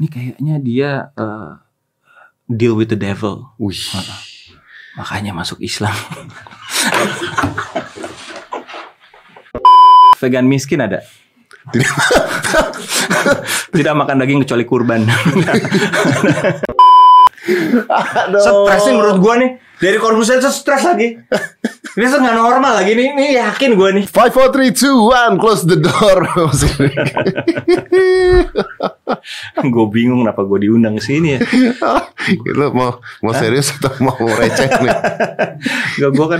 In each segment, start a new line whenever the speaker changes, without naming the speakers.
ini kayaknya dia eh, deal with the devil
Wih.
makanya masuk Islam vegan miskin ada
Tidak.
tidak makan daging kecuali kurban
Aduh.
Stresnya menurut gua nih dari korbusen stres lagi ini tuh nggak normal lagi nih ini yakin gua nih
Five, four, three, two, one. Close the door.
gue bingung kenapa gue diundang ke sini ya
Lo mau mau serius atau mau receh nih?
gak gue kan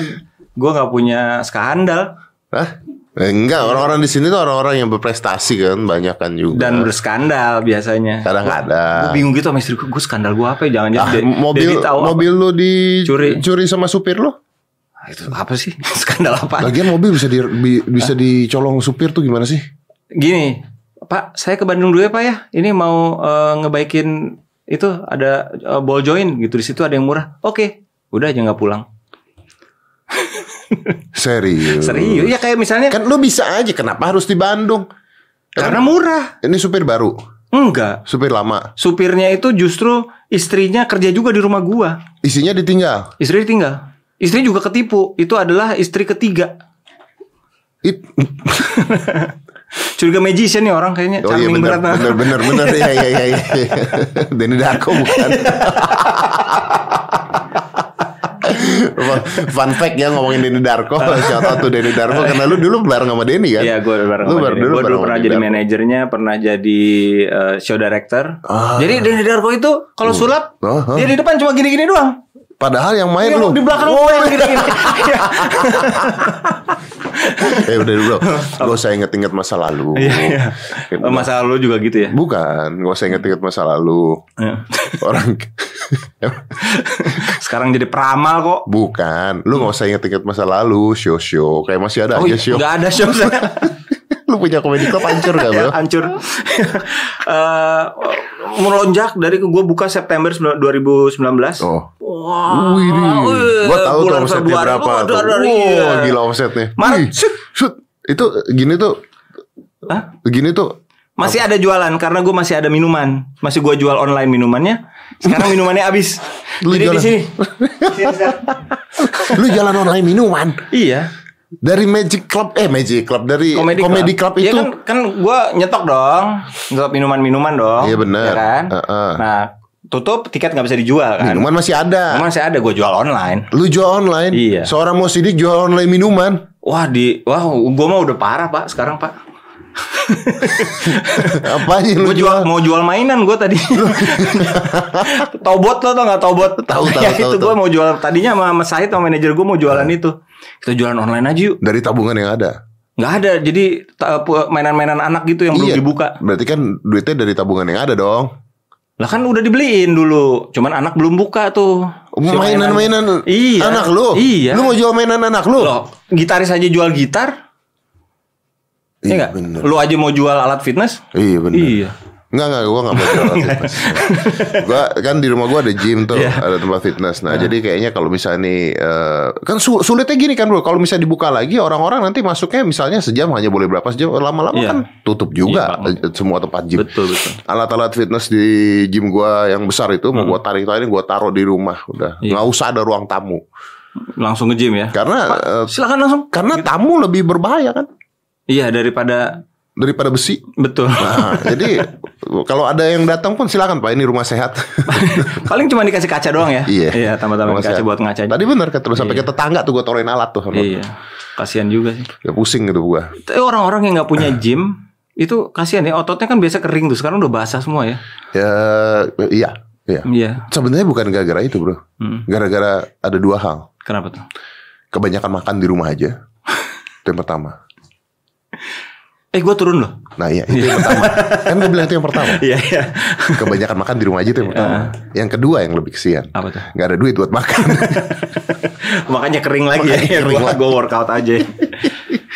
gue nggak punya skandal
Hah? Eh, enggak, orang-orang di sini tuh orang-orang yang berprestasi kan, banyak kan juga.
dan berskandal biasanya gue
kadang-kadang.
bingung gitu sama istri gue gue skandal gue apa ya jangan jangan
Ah, mobil
tahu
mobil lu
Curi.
dicuri curi sama supir lu?
apa Ah, itu apa sih skandal apa
Lagian mobil bisa di, bi- bisa dicolong supir tuh gimana sih?
gini pak saya ke Bandung dulu ya pak ya ini mau eh, ngebaikin itu ada eh, ball join gitu di situ ada yang murah oke udah aja nggak pulang
Serius.
serius ya kayak misalnya
Kan lu bisa aja kenapa harus di Bandung?
karena murah
Ini supir baru,
enggak
supir lama.
supirnya itu justru istrinya kerja juga di rumah gua
Isinya ditinggal.
Istri ditinggal. Istri juga ketipu. Itu adalah istri ketiga.
It,
Curiga magician nih orang kayaknya.
oh iya
Charming
benar
berat. nah.
benar benar benar ya ya ya. ya. Denny Darko bukan. Fun fact ya ngomongin Denny Darko, shout out to Denny Darko karena lu dulu bareng sama Denny kan?
Iya, gue bareng
Lu
sama
baru
Denny.
dulu
Gua dulu
bareng
pernah
sama
jadi
Denny
manajernya, pernah jadi eh, show director.
Ah.
Jadi Denny Darko itu kalau sulap,
Ah, ah.
dia di depan cuma gini-gini doang.
Padahal yang main
Iya,
lu
di belakang
Wow.
gue yang gini-gini. Iya.
Eh udah bro, gak usah inget-inget masa lalu.
Iya, iya. Eh, Masa lalu juga gitu ya.
Bukan, gak usah inget-inget masa lalu.
Iya.
Orang
Sekarang jadi peramal kok.
bukan, lu gak usah inget-inget masa lalu. Show show, kayak masih ada
Oh,
aja show.
nggak ada show saya. Ya,
lu punya komedi club hancur gak bro?
hancur Eh, melonjak dari gue buka September 2019
Oh,
Wah, eh,
Wih,
Ah, wih,
gua tahu tuh
bulan
omsetnya
Februari.
berapa
Wah,
tuh.
dar- dar- iya.
Wah, gila omsetnya.
Maret,
Wih,
syut.
syut. Itu gini tuh,
Hah?
gini tuh.
Masih ada jualan karena gue masih ada minuman, masih gue jual online minumannya. Sekarang minumannya habis.
Lu
Jadi di
jualan.
sini. Di sini, Sar.
Lu jalan online minuman
iya.
dari Magic Club, eh Magic Club dari Comedy, Club,
Iya
itu.
kan, kan gue nyetok dong, nyetok minuman-minuman dong.
Iya, benar.
ya kan?
Heeh.
Nah, tutup tiket nggak bisa dijual kan?
Minuman masih ada.
Minuman saya ada gue jual online.
Lu jual online?
Iya.
Seorang mau sidik jual online minuman.
Wah di, wah gue mah udah parah pak sekarang pak.
Apanya lu
Gue jual mau jual mainan gue tadi. tobot lo tau nggak tobot?
Tahu, tahu,
Ya itu
tahu, tahu.
gue mau jual tadinya sama Mas Said sama manajer gue mau jualan
Nah.
itu. Kita jualan online aja yuk.
Dari tabungan yang ada.
Nggak ada jadi ta- eh, pu- mainan-mainan anak gitu yang belum dibuka.
Iya. Berarti kan duitnya dari tabungan yang ada dong.
Lah kan udah dibeliin dulu. Cuman anak belum buka tuh. Si
Oh, Mainan-mainan
Iya.
anak lu.
Iya.
Lu mau jual mainan anak lu?
Loh, gitaris aja jual gitar. Iya
Iya
nggak?
bener.
Lu aja mau jual alat fitness?
Iya bener.
Iya.
Enggak enggak gua enggak mau jual alat fitness. gua kan di rumah gua ada gym tuh,
Iya.
ada tempat fitness. Nah, jadi kayaknya kalau misalnya nih eh, kan su- sulitnya gini kan, Bro. Kalau misalnya dibuka lagi orang-orang nanti masuknya misalnya sejam hanya boleh berapa sejam lama-lama
Iya.
kan tutup juga
Iya,
eh, semua tempat gym.
Betul betul.
alat-alat fitness di gym gua yang besar itu mau gua tarik tarik gua taruh di rumah
Hmm.
udah
Iya.
nggak usah ada ruang tamu
Langsung ke gym ya.
karena eh,
Silakan langsung.
karena tamu lebih berbahaya kan
Iya daripada
daripada besi
betul.
nah, jadi kalau ada yang datang pun silakan pak ini rumah sehat
Paling cuma dikasih kaca doang ya.
Iya.
Iya, tambah-tambah
Rumah
kaca
sehat.
buat ngaca.
tadi bener kata lu sampai
Iya.
ke tetangga tuh gua taruhin alat tuh sama
Iya. Kasihan juga sih.
ya pusing gitu gua
Tapi orang-orang yang nggak punya gym itu kasihan ya ototnya kan biasa kering tuh sekarang udah basah semua ya.
ya iya iya
Iya.
sebenarnya bukan gara-gara itu bro
Hmm.
gara-gara ada dua hal
Kenapa tuh?
kebanyakan makan di rumah aja itu yang pertama
Eh gue turun loh.
nah iya itu yang pertama kan gua bilang itu yang pertama
Iya iya.
kebanyakan makan di rumah aja itu yang pertama. Yang kedua yang lebih kesian,
Apa tuh?
nggak ada duit buat makan.
Makanya kering lagi
Makanya
ya.
kering
Gue
lagi.
workout aja.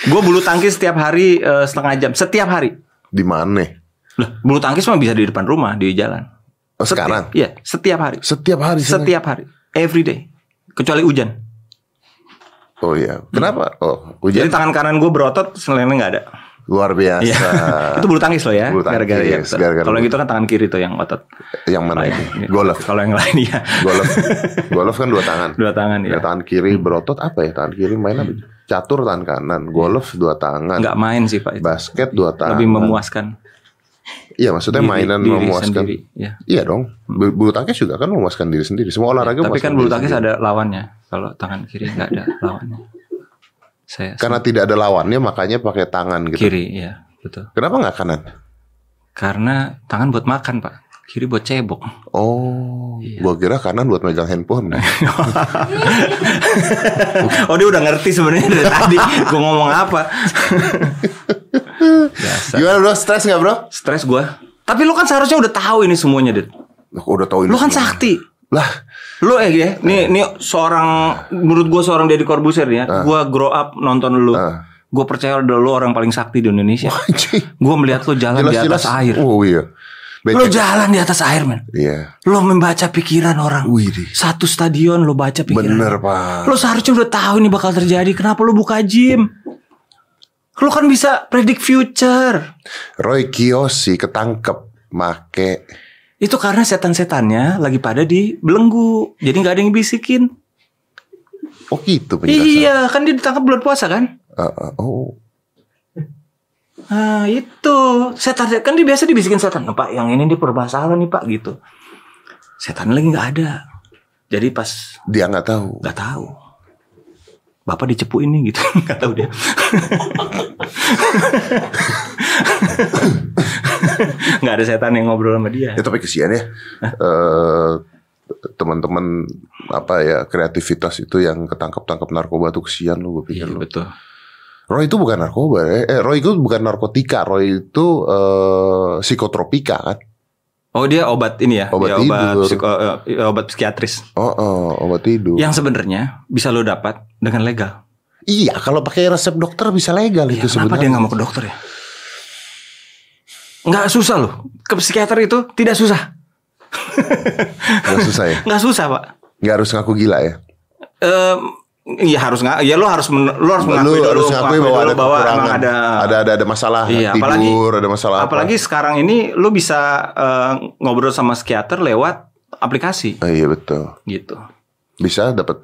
gue bulu tangkis setiap hari eh, setengah jam setiap hari.
di mana?
Loh, bulu tangkis mah bisa di depan rumah di jalan.
Oh, sekarang
Iya, setiap hari.
setiap hari. sana.
Setiap hari. Every day. Kecuali hujan.
Oh iya. Kenapa? Oh
Jadi
hujan.
tangan kanan gue berotot, selendang nggak ada.
Luar biasa.
Iya. itu bulu tangkis loh ya.
Bulu tangkis,
Gara-gara ya. Kalau
gara-gara bulu-
yang itu kan tangan kiri tuh yang otot.
Yang mana
Lain.
ini? Golf.
Kalau yang lain ya
Golf. Golf kan dua tangan.
dua tangan ya.
Ya, tangan kiri berotot apa ya? Tangan kiri main
Hmm.
apa? Catur tangan kanan. Golf dua tangan.
Iya. Nggak main sih Pak. itu.
Basket dua tangan.
Lebih memuaskan.
Iya maksudnya
Diri-
mainan
diri
memuaskan.
sendiri, ya.
Iya dong. Bu- Bulu tangkis juga kan memuaskan diri sendiri. Semua olahraga
Tapi
memuaskan
kan bulu
diri
tangkis
sendiri.
ada lawannya. Kalau tangan kiri nggak ada lawannya. Saya
Karena tidak ada lawannya makanya pakai tangan Kan gitu.
kiri ya betul.
Kenapa nggak kanan?
Karena tangan buat makan Pak. Kiri buat cebok.
Oh,
Iya.
gua kira kanan buat megang handphone.
oh dia udah ngerti sebenarnya dari tadi gue ngomong apa. Biasa.
Gimana bro? Stres nggak bro?
Stres gue. Tapi lu kan seharusnya udah tahu ini semuanya, Dit.
Udah tahu ini.
Lu kan
semua.
sakti.
Lah,
Lu eh ya, nih nih seorang menurut gue seorang Deddy Corbuzier ya. Gue grow up nonton lu.
Ah.
Gue percaya udah lu orang paling sakti di Indonesia.
anjing.
Gue melihat lu jalan di
Jelas-jelas
atas air.
Oh iya.
Lu
Becek.
jalan di atas air, men.
Iya.
Lu membaca pikiran orang.
Wih, deh.
Satu stadion lu baca pikiran.
bener pak.
Lo seharusnya udah tahu ini bakal terjadi. Kenapa lo buka gym? Lo kan bisa predict future.
Roy Kiyoshi ketangkep make
Itu karena setan-setannya lagi pada di belenggu. Jadi nggak ada yang bisikin.
Oh gitu penjelasan.
Iya, kan dia ditangkap bulan puasa kan?
Ah, ah, oh.
Nah, itu. Setan kan dia biasa dibisikin setan. "Nah, Pak, yang ini dia permasalahan nih, Pak gitu. Setan lagi nggak ada. Jadi pas
Dia nggak tahu.
nggak tahu. Bapak dicepuin nih gitu. Nggak tahu dia. nggak ada setan yang ngobrol sama dia.
Ya tapi kesian ya. Eh, teman-teman apa ya kreativitas itu yang ketangkep-tangkep narkoba tuh kesian lu gue pikir lu.
Iya, betul.
Roy itu bukan narkoba ya. Eh Roy itu bukan narkotika, Roy itu eh, psikotropika kan.
Oh dia obat ini ya,
Obat
Dia obat,
tidur.
psiko- eh, obat psikiatris.
Oh, oh obat tidur.
Yang sebenarnya bisa lo dapat dengan legal.
Iya, kalau pakai resep dokter bisa legal itu
Ya, kenapa dia
sebenarnya.
nggak mau ke dokter ya? Nggak susah loh. Ke psikiater itu tidak susah.
Nggak susah ya.
Nggak susah pak.
Nggak harus ngaku gila ya.
Em, Iya harus nggak? Ya lo harus men- lo harus
Lu
mengakui dulu,
harus ngakui bahwa
dulu
ada kekurangan,
emang
ada ada ada, masalah
Iya, apalagi-
tidur, ada masalah apa.
Apalagi sekarang ini lo bisa eh, ngobrol sama psikiater lewat aplikasi
Oh, iya betul.
gitu.
Bisa dapat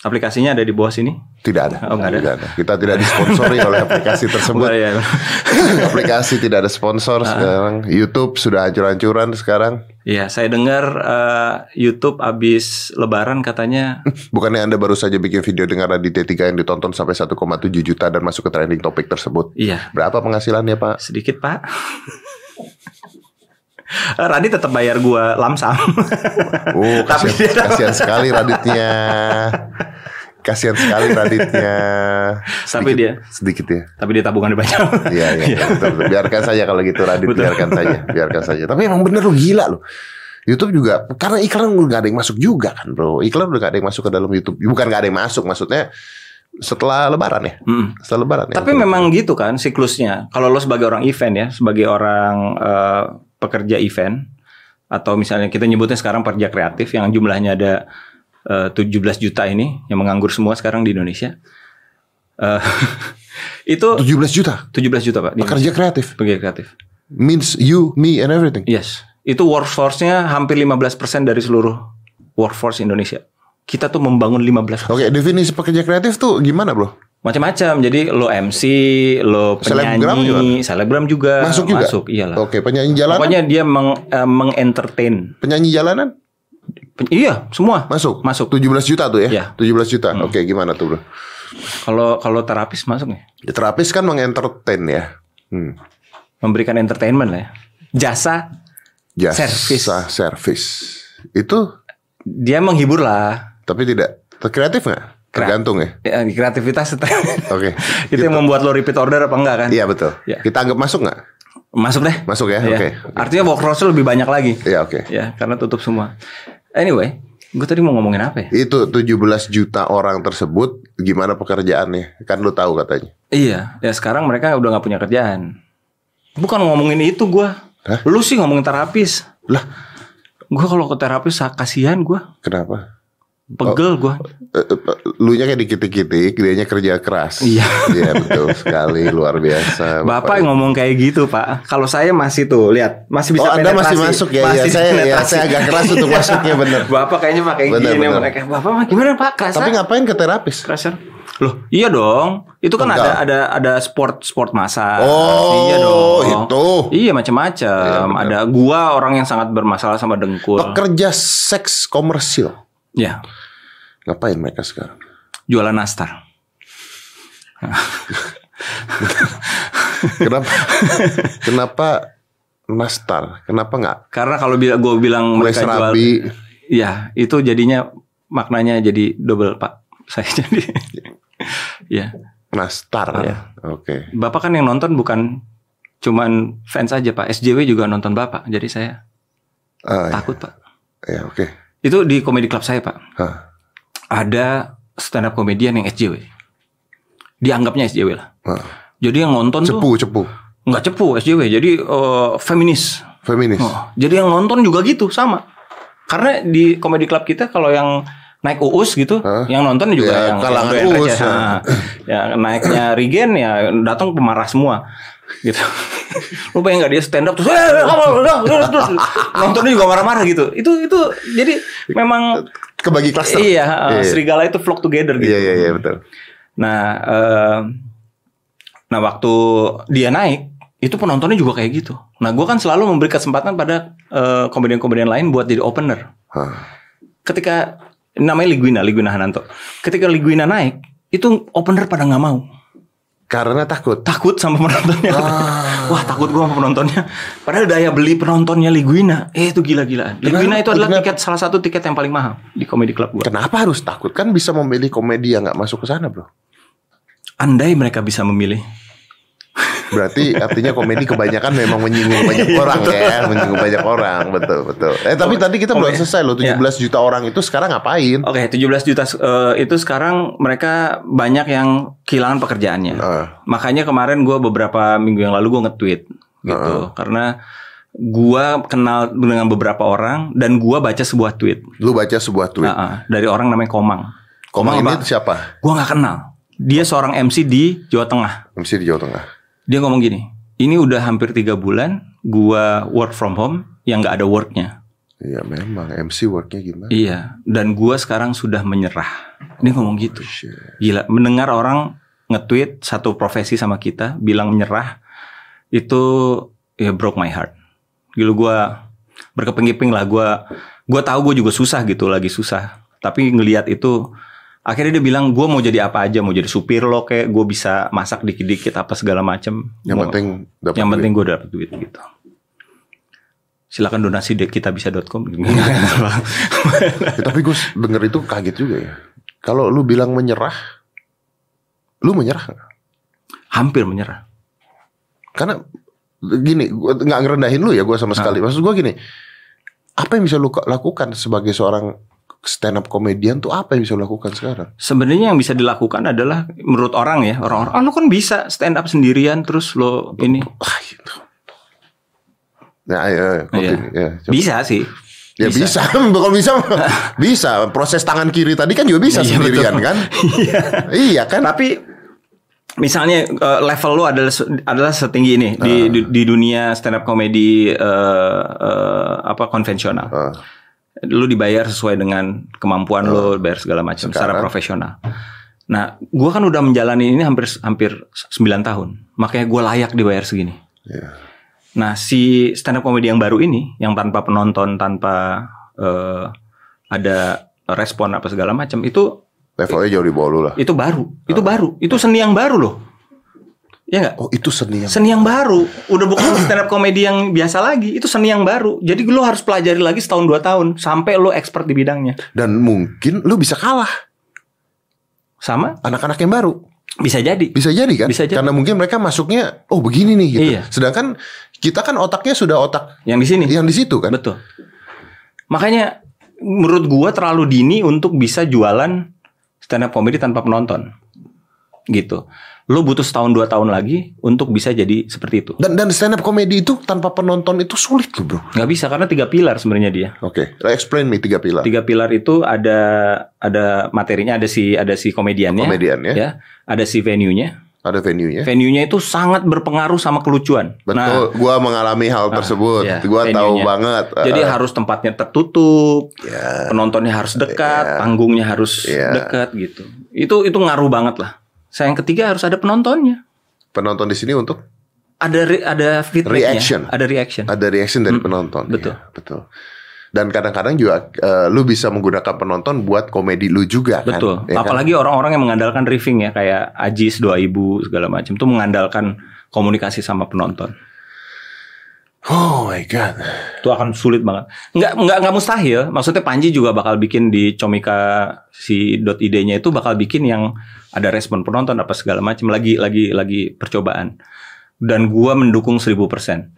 Aplikasinya ada di bawah sini.
Tidak ada.
Oh, nggak ada.
Tidak Kita tidak disponsori oleh aplikasi tersebut.
Bukan, ya.
aplikasi tidak ada
Ah.
sponsor sekarang. YouTube sudah hancur-hancuran sekarang.
Iya, saya dengar eh, YouTube abis Lebaran katanya
Bukannya Anda baru saja bikin video dengan Raditya 3 yang ditonton sampai 1,7 juta dan masuk ke trending topik tersebut.
iya
Berapa penghasilannya, Pak?
sedikit pak. Radi tetap bayar gua lamsam.
Oh,
Tapi
kasihan,
dia-
kasihan sekali Raditnya. Kasihan sekali Raditnya.
Tapi
Sedikit-
dia-
sedikit ya.
Tapi dia tabungannya banyak.
Iya, iya. betul, betul. Biarkan saja kalau gitu Radit,
Betul.
biarkan saja, biarkan saja. Tapi emang bener lu gila lu. YouTube juga karena iklan udah gak ada yang masuk juga kan, Bro. Iklan udah gak ada yang masuk ke dalam YouTube. Bukan gak ada yang masuk, maksudnya setelah lebaran ya.
Mm-mm.
Setelah lebaran ya.
Hmm. Tapi memang gitu kan siklusnya. Kalau lo sebagai orang event ya, sebagai orang eh, pekerja event atau misalnya kita nyebutnya sekarang pekerja kreatif yang jumlahnya ada eh, 17 juta ini yang menganggur semua sekarang di Indonesia. Eh, itu
17 juta
17 juta Pak. di Indonesia.
pekerja kreatif.
Pekerja kreatif.
Means you, me and everything.
Yes. Itu workforce-nya hampir 15% dari seluruh workforce Indonesia. Kita tuh membangun 15
Oke, definisi pekerja kreatif tuh gimana, Bro?
macam-macam. Jadi lo MC, lo
Selebgram
penyanyi, selebgram juga
Masuk
Eh,
juga?
Masuk, iyalah.
Oke, penyanyi jalanan.
Pokoknya dia meng, eh, mengentertain.
Penyanyi jalanan
Pen- iya, semua.
masuk.
Masuk.
17 juta tuh
Iya.
ya. 17 juta. Oke, gimana tuh, Bro?
Kalau kalau terapis masuk nih.
Terapis kan mengentertain ya. Hmm.
Memberikan entertainment lah ya. Jasa
jasa
Service.
service. Itu
dia menghibur lah.
tapi tidak kreatif nggak? Tergantung ya.
Ya, kreativitas itu
Oke.
itu yang membuat lo repeat order apa enggak kan?
Gitu. Iya betul.
Iya.
Kita anggap masuk nggak?
Masuk deh.
Masuk ya.
Iya.
Oke.
Artinya workforce lebih banyak lagi.
Iya oke.
Ya, karena tutup semua. Anyway, gue tadi mau ngomongin apa ya?
Itu 17 juta orang tersebut gimana pekerjaannya? Kan lu tahu katanya.
Iya, ya sekarang mereka udah nggak punya kerjaan. Bukan ngomongin itu gua.
Hah?
Lu sih ngomongin terapis.
Lah,
Gua kalau ke terapis sa- kasihan gua.
kenapa? Eh,
Pegel gua.
lu nya kayak dikit-dikitik, dianya kerja keras.
Iya.
Iya betul sekali, luar biasa.
Bapak yang ngomong kayak gitu, Pak. Kalau saya masih tuh, lihat, masih bisa
oh, Anda masih
penetrasi.
masuk ya? Iya, saya, ya,
penetrasi.
saya agak keras untuk masuknya bener.
Bapak kayaknya pakai
Bener,
gini
bener.
mereka. Bapak mah gimana, Pak? Kerasa?
Tapi ngapain ke terapis?
Kerasa? Loh, iya dong. Itu kan ada
Enggak.
ada ada sport sport masa.
Oh,
iya dong.
itu.
Iya macam-macam. ada gua orang yang sangat bermasalah sama dengkul.
Pekerja seks komersil.
Ya,
Ngapain mereka sekarang?
jualan nastar.
Kenapa? kenapa nastar? Kenapa nggak
Karena kalau bila gua bilang
mulai
mereka jual,
serabi?
ya itu jadinya maknanya jadi double pak. Saya jadi, ya.
Nastar.
Iya.
Oke.
Bapak kan yang nonton bukan cuman fans aja pak. SJW juga nonton bapak. Jadi saya
Ah, iya.
takut pak.
Iya, oke. Ah,
Itu di komedi club saya pak.
Hah.
ada stand up komedian yang SJW. Dianggapnya SJW lah.
Hah.
Jadi yang nonton tuh
ah. Cepu, cepu.
nggak cepu SJW. Jadi eh, feminis.
Feminis.
Oh, jadi yang nonton juga gitu sama. Karena di komedi club kita kalau yang naik uus gitu,
Hah?
yang nonton juga
Ya,
yang
kalangan
yang doyan
uus,
receh.
ya.
Nah, ya naiknya Regen ya datang pemarah semua gitu. Lu pengen nggak dia stand up terus, "Eh, eh, apa, udah, udah, terus nontonnya juga marah-marah gitu. Itu itu jadi memang
Kebagi klaster.
Iya, eh,
Iya, iya.
serigala itu flock together gitu.
Iya, iya, iya, betul.
Nah, eh, nah waktu dia naik, itu penontonnya juga kayak gitu. Nah, gue kan selalu memberi kesempatan pada eh, komedian-komedian lain buat jadi opener.
Hah.
Ketika namanya Liguina, Liguina Hananto. Ketika Liguina naik, itu opener pada nggak mau.
Karena takut.
Takut sama penontonnya. Wah, takut gue sama penontonnya. Padahal daya beli penontonnya Liguina, eh itu gila-gilaan. Liguina itu adalah
Kenapa?
tiket salah satu tiket yang paling mahal di komedi club gue.
Kenapa harus takut? Kan bisa memilih komedi yang nggak masuk ke sana, bro.
Andai mereka bisa memilih.
Berarti artinya komedi kebanyakan memang
Iya,
menyinggung banyak orang ya, menyinggung banyak orang, betul betul. Eh tapi tadi kita belum
Oke.
selesai loh, 17 juta orang itu sekarang ngapain?
Oke, 17 juta eh, itu sekarang mereka banyak yang kehilangan pekerjaannya.
Heeh.
Makanya kemarin gue beberapa minggu yang lalu gue nge-tweet gitu karena gue kenal dengan beberapa orang dan gue baca sebuah tweet
Lu baca sebuah tweet.
Heeh, dari orang namanya Komang.
Komang
apa?
ini siapa?
Gue nggak kenal. Dia seorang MC di Jawa Tengah.
MC di Jawa Tengah.
Dia ngomong gini, ini udah hampir tiga bulan gue work from home yang nggak ada worknya.
Iya memang MC worknya gimana?
Iya. Dan gue sekarang sudah menyerah. Dia ngomong gitu.
Oh, Shit.
Gila, mendengar orang nge-tweet satu profesi sama kita bilang menyerah itu ya broke my heart. Gila gua berkeping-keping lah gua gua tahu gue juga susah gitu lagi susah. Tapi ngelihat itu akhirnya dia bilang gua mau jadi apa aja, mau jadi supir lo kayak gue bisa masak dikit-dikit apa segala macem.
Yang
Gua-
penting dapat.
yang
duit.
penting gue dapet duit gitu. Silakan donasi di kitabisa.com.
Ya, tapi gue denger itu kaget juga ya. Kalau lu bilang menyerah, lu menyerah nggak?
Hampir menyerah.
karena gini gua nggak ngerendahin lu ya gue
Nah.
sama sekali maksud gue gini apa yang bisa lu ka- lakukan sebagai seorang stand up komedian tuh apa yang bisa lu lakukan sekarang
Sebenarnya yang bisa dilakukan adalah menurut orang ya orang-orang, ah, lu kan bisa stand up sendirian terus lo ini
wah gitu nah ayo,
Iya.
ayo, continue. ya, coba.
bisa sih.
ya bisa, kalau bisa bisa proses tangan kiri tadi kan juga bisa
Iya,
sendirian
betul.
kan
Iya.
iya kan
Tapi misalnya eh, level lo adalah se- adalah setinggi ini di,
Ah.
di di dunia stand up comedy eh, eh, apa konvensional.
Ah,
lu dibayar sesuai dengan kemampuan lu, bayar segala macam secara
Sekarang?
profesional. Nah, gua kan udah menjalani ini hampir hampir 9 tahun. Makanya gua layak dibayar segini.
iya.
Nah, si stand up comedy yang baru ini yang tanpa penonton, tanpa eh, ada respon apa segala macam itu
levelnya jauh di bawah lu lah
itu baru. Itu baru. Itu seni yang baru loh. Ya enggak?
oh itu seni yang
Seni yang baru, udah bukan stand up comedy yang biasa lagi, itu seni yang baru. Jadi lu harus pelajari lagi setahun dua tahun sampai lu expert di bidangnya.
dan mungkin lu bisa kalah
Sama
anak-anak yang baru
Bisa jadi.
Bisa jadi kan?
Bisa jadi.
Karena mungkin mereka masuknya oh begini nih gitu.
Iya.
Sedangkan kita kan otaknya sudah otak
Yang di sini.
yang di situ kan.
Betul. Makanya menurut gua terlalu dini untuk bisa jualan stand up comedy tanpa penonton. Gitu. Lo butuh setahun dua tahun lagi untuk bisa jadi seperti itu.
Dan dan stand up comedy itu tanpa penonton itu sulit loh bro.
Nggak bisa karena tiga pilar sebenarnya dia.
Oke, explain me tiga pilar.
Tiga pilar itu ada ada materinya, ada si ada si komediannya,
Komedian ya,
ya, ada si venue-nya.
ada venue-nya.
Venue-nya itu sangat berpengaruh sama kelucuan. Nah,
Ya. Betul, gua mengalami hal tersebut.
iya,
gua tahu
venue-nya.
banget.
jadi
Ah,
harus tempatnya tertutup,
ya.
penontonnya harus dekat,
Iya.
panggungnya harus
Iya.
dekat gitu. Itu itu ngaruh banget lah. Saya yang ketiga harus ada penontonnya.
penonton di sini untuk
Ada re- ada feedbacknya,
Reaction.
ada reaction.
ada reaction dari penonton.
Hmm, betul.
Iya, betul. Dan kadang-kadang juga eh, lu bisa menggunakan penonton buat komedi lu juga kan.
Betul.
Ya kan?
Apalagi orang-orang yang mengandalkan riffing ya kayak Ajis, Doa Ibu segala macam tuh mengandalkan komunikasi sama penonton.
Oh my god.
Itu akan sulit banget. Nggak nggak nggak mustahil. Maksudnya Panji juga bakal bikin di Comika si dot id-nya itu bakal bikin yang ada respon penonton apa segala macam lagi lagi lagi percobaan. Dan gua mendukung 1000%.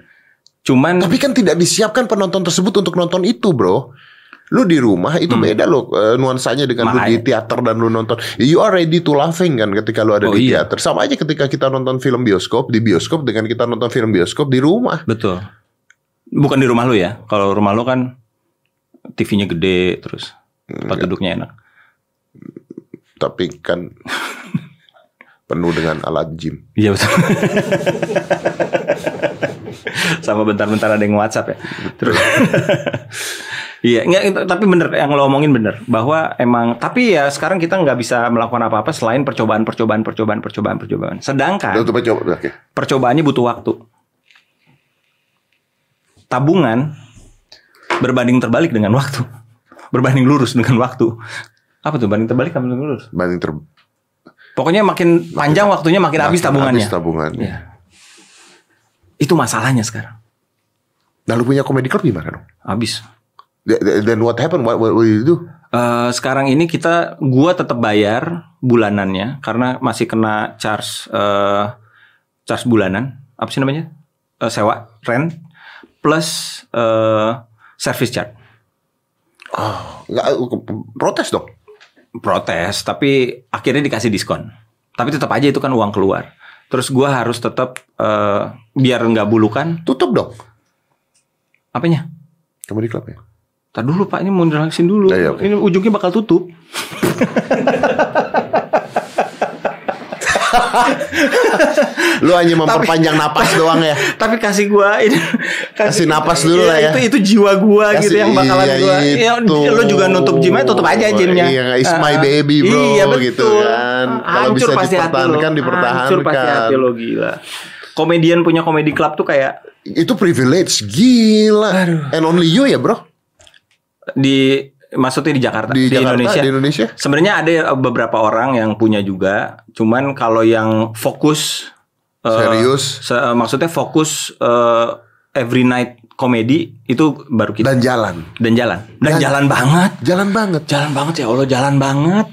Cuman
Tapi kan tidak disiapkan penonton tersebut untuk nonton itu, Bro. Lu di rumah itu
Hmm.
beda loh eh, nuansanya dengan lu di
Makanya.
teater dan lu nonton. You are ready to laughing kan ketika lu ada
Oh,
di
iya.
teater. Sama aja ketika kita nonton film bioskop di bioskop dengan kita nonton film bioskop di rumah.
betul. Bukan di rumah lu ya. Kalau rumah lu kan TV-nya gede terus tempat duduknya enak.
Tapi kan penuh dengan alat gym.
Iya betul. Sama bentar-bentar ada yang WhatsApp ya. Terus. Iya, nggak, itu- tapi bener yang lo omongin bener bahwa emang tapi ya sekarang kita nggak bisa melakukan apa-apa selain percobaan, percobaan, percobaan, percobaan, percobaan.
Lu
Sedangkan
coba coba oke.
percobaannya butuh waktu. Tabungan berbanding terbalik dengan waktu, berbanding lurus dengan waktu. Apa tuh banding terbalik sama banding lurus?
Banding ter
Pokoknya makin panjang waktunya makin habis
makin
tabungannya.
habis tabungannya.
Iya. Itu masalahnya sekarang.
Nah, lu punya comedy club gimana dong?
Habis.
Th- th- Then what happened? What, what, what did you do?
Eh, sekarang ini kita gua tetap bayar bulanannya karena masih kena charge eh charge bulanan. Apa sih namanya? Eh, sewa, rent plus eh service charge. Oh.
Nggak, protes dong.
Protes, tapi akhirnya dikasih diskon. Tapi tetap aja itu kan uang keluar. Terus gua harus tetap eh biar nggak bulukan
Tutup dong.
apanya?
Comedy club ya.
Tar dulu Pak, ini mau relaxin dulu.
Ya, ya, oke.
Ini ujungnya bakal tutup.
Lu hanya memperpanjang napas doang ya.
tapi kasih gua ini Iya,
Kasih napas dulu lah ya.
itu itu jiwa gua
Kasih-
gitu yang bakalan
iya,
gua ya,
itu.
lo juga nutup gymnya tutup aja gymnya
Iya, it's my
Ah,
baby, bro,
iya, betul.
gitu kan.
Ah,
Kalau
hancur
bisa
pasti hati lo.
dipertahankan, dipertahankan.
hancur pasti hati lo gila komedian punya komedi club tuh kayak
Itu privilege gila. And only you ya, bro.
di maksudnya di Jakarta
Di,
di,
Jakarta,
Indonesia
di Indonesia.
sebenarnya ada beberapa orang yang punya juga cuman kalau yang fokus eh,
Serius.
se- eh, maksudnya fokus eh, every night komedi itu baru kita
Dan jalan.
dan jalan dan,
Dan-
jalan banget
Jalan banget.
jalan banget ya Allah jalan banget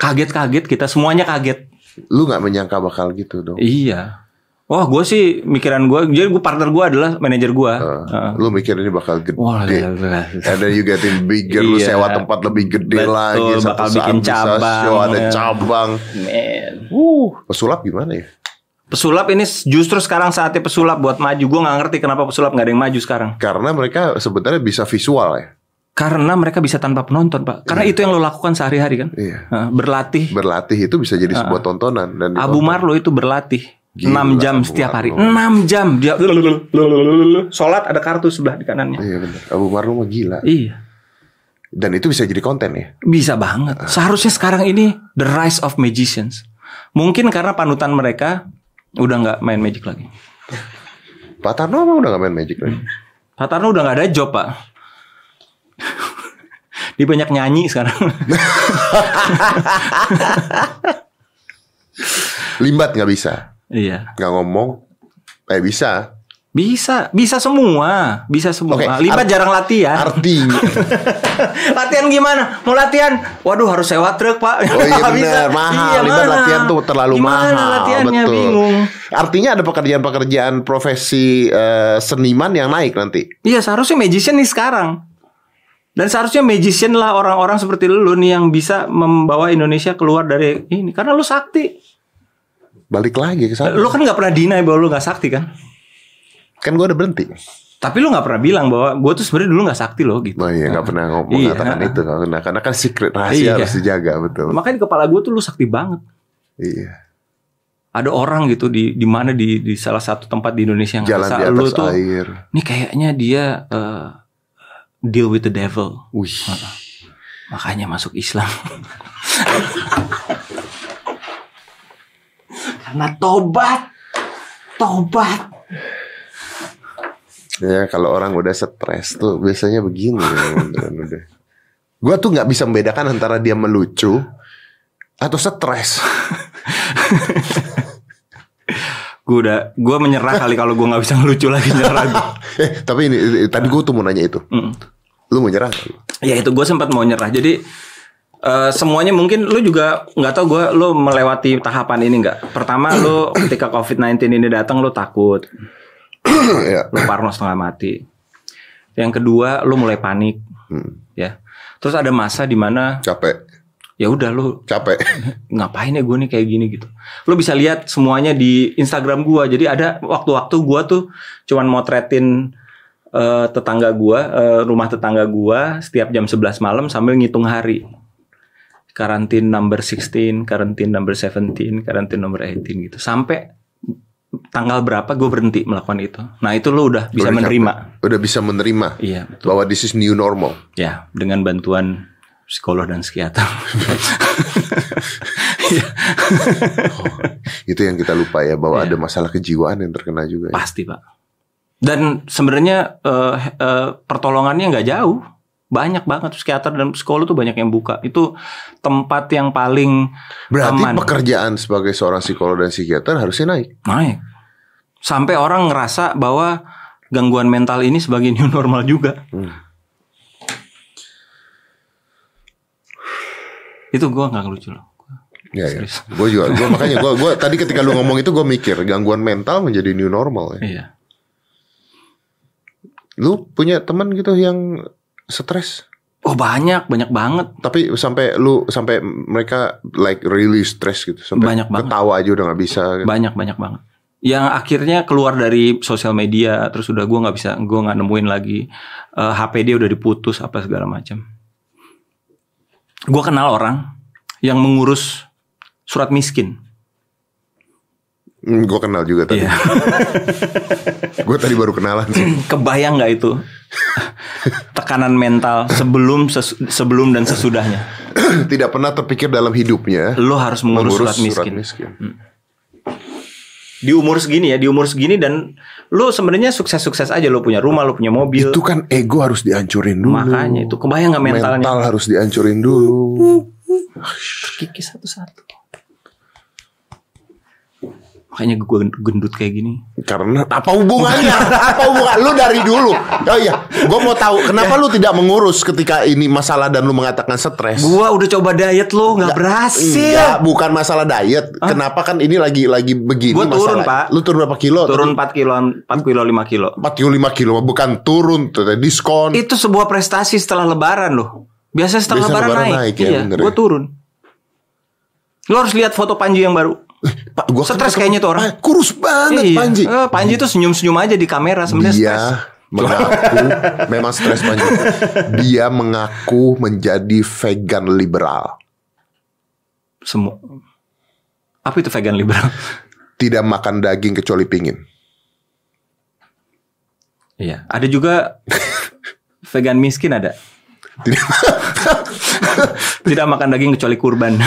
kaget kaget kita semuanya kaget
Lu nggak menyangka bakal gitu dong.
iya wah gue sih mikiran gue jadi gue partner gue adalah manajer gue Heeh.
Lu mikir ini bakal gede.
Eh. wah gila, gila.
And then you getting bigger, lu
Iya.
sewa tempat lebih gede
Betul,
lagi.
bakal bikin
bisa
cabang,
show, ada
ya.
cabang.
Man.
Uh, pesulap gimana ya?
pesulap ini justru sekarang saatnya pesulap buat maju gue nggak ngerti kenapa pesulap nggak ada yang maju sekarang
Karena mereka sebenarnya bisa visual ya.
karena mereka bisa tanpa penonton pak karena itu yang lo lakukan sehari-hari kan
Iya.
Heeh, berlatih
Berlatih itu bisa jadi sebuah tontonan dan
Ah. Abu Marlo itu berlatih
Gila,
6 jam
Abu
setiap hari
Marlo.
6 jam dia Sholat ada kartu sebelah di kanannya
Iya benar. Abu Marlo mah gila.
Iya
Dan itu bisa jadi konten ya.
Bisa banget. Seharusnya sekarang ini the rise of magicians. Mungkin karena panutan mereka udah nggak main magic lagi.
Pak Tarno emang udah gak main magic lagi.
Pak Tarno udah nggak ada job pak. Dia banyak nyanyi sekarang.
Limbat nggak bisa.
iya.
Nggak ngomong. Eh bisa.
Bisa, bisa semua, bisa semua.
Oke,
Lipat
art-
jarang latihan.
Artinya.
latihan gimana? Mau latihan? Waduh harus sewa truk pak.
Oh iya
Nggak bisa.
benar. Mahal.
Iya,
Limbat
mahal.
latihan tuh terlalu
Gimana
mahal.
latihannya?
Betul.
Bingung.
Artinya ada pekerjaan-pekerjaan profesi eh, seniman yang naik nanti.
Iya seharusnya magician nih sekarang Dan seharusnya magician lah orang-orang seperti lu nih Yang bisa membawa Indonesia keluar dari ini Karena lu sakti
balik lagi ke sana.
Lo kan nggak pernah deny bahwa lo nggak sakti kan?
Kan gue udah berhenti.
Tapi lo nggak pernah bilang bahwa gue tuh sebenarnya dulu nggak sakti lo gitu.
Oh iya, nggak pernah ngomong
Iya.
mengatakan itu, nggak pernah. Karena kan secret rahasia
Iya.
harus dijaga betul.
Makanya di kepala gue tuh lo sakti banget.
Iya.
Ada orang gitu di di mana di di salah satu tempat di Indonesia yang
Jalan di
ngerasa lo
atas
tuh,
air.
ini kayaknya dia eh, deal with the devil.
Wih.
Ah. Makanya masuk Islam. Karena tobat. Tobat.
Ya kalau orang udah stres tuh biasanya begini. ya, beneran udah. Gua tuh nggak bisa membedakan antara dia melucu atau stres.
Gue udah, gue menyerah kali kalau gue nggak bisa ngelucu lagi nyerah gua.
eh tapi ini tadi gue tuh mau nanya itu.
Mm.
Lu mau nyerang? nggak lu?
Ya itu gue sempat mau nyerah. Jadi eh, semuanya mungkin lu juga nggak tahu gue lu melewati tahapan ini nggak. Pertama lu ketika COVID-19 ini datang lu takut,
ya.
lu parno setengah mati. Yang kedua lu mulai panik,
Hmm,
ya. Terus ada masa di mana
capek,
ya udah lu
capek.
ngapain ya gue nih kayak gini gitu. Lo bisa lihat semuanya di Instagram gue. Jadi ada waktu-waktu gue tuh cuman motretin eh, tetangga gue, eh, rumah tetangga gue setiap jam 11 malam sambil ngitung hari. Karantin number 16, karantin number 17, karantin number 18 gitu. Sampai tanggal berapa gue berhenti melakukan itu. Nah itu lo udah bisa
Udah
menerima.
capek. Udah bisa menerima
Iya betul.
bahwa this is new normal.
Ya dengan bantuan psikolog dan psikiater.
Itu yang kita lupa ya bahwa
Iya.
ada masalah kejiwaan yang terkena juga. ya.
Pasti pak. Dan sebenarnya eh, eh, pertolongannya nggak jauh, banyak banget psikiater dan psikolog tuh banyak yang buka. Itu tempat yang paling
Berarti
aman.
pekerjaan sebagai seorang psikolog dan psikiater harusnya naik.
naik. Sampai orang ngerasa bahwa gangguan mental ini sebagai new normal juga.
Hmm.
Itu gua nggak ngelucu loh.
Ya, ya.
Serius.
Gue juga, gua, makanya gue, gua, tadi ketika lu ngomong itu gue mikir gangguan mental menjadi new normal. Ya.
Iya.
Lu punya teman gitu yang stres,
Oh banyak, banyak banget.
tapi sampai lu sampai mereka like really stress gitu, sampai
Banyak banget.
ketawa aja udah nggak bisa. gitu.
banyak banyak banget yang akhirnya keluar dari sosial media terus udah gua nggak bisa gua nggak nemuin lagi Eh, HP dia udah diputus apa segala macam gua kenal orang yang mengurus surat miskin
Hmm, gue kenal juga tadi.
Iya.
gue tadi baru kenalan sih.
kebayang nggak itu tekanan mental sebelum sesu- sebelum dan sesudahnya
Tidak pernah terpikir dalam hidupnya
lo harus mengurus, surat miskin di umur segini ya di umur segini dan lo sebenarnya sukses sukses aja lo punya rumah lo punya mobil
Itu kan ego harus dihancurin dulu.
makanya itu kebayang nggak mentalnya
Mental harus dihancurin dulu.
kiki satu-satu. Makanya gue gendut kayak gini.
Karena apa hubungannya? apa hubungan? Lu dari dulu. Oh iya, gue mau tahu kenapa lu tidak mengurus ketika ini masalah dan lu mengatakan stres.
Gua udah coba diet lo nggak Iya. berhasil.
Enggak, bukan masalah diet. Kenapa kan ini lagi lagi begini
Gua turun,
masalah.
Pak.
Lu turun berapa kilo?
Turun 4 kilo, 4 kilo 5 kilo.
45 kilo, bukan turun, tuh, diskon.
Itu sebuah prestasi setelah lebaran loh. Biasa setelah
Biasa
lebaran,
lebaran
naik.
naik ya,
iya,
bener
gue
ya.
turun. Lo harus lihat foto Panji yang baru.
Pak, gua kan
Stres
ketemu-
kayaknya tuh orang.
Ah, kurus banget
Iya.
Panji.
Eh, Panji Iya. tuh senyum-senyum aja di kamera sebenarnya
Dia
stres.
mengaku memang stres Panji. Dia mengaku menjadi vegan liberal,
Semua. Apa itu vegan liberal?
tidak makan daging kecuali pingin.
Iya. Ada juga vegan miskin ada.
Tidak
Tidak makan daging kecuali kurban.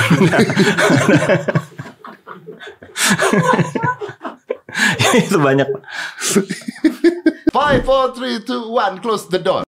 Itu banyak.
Five, four, three, two, one, close the door.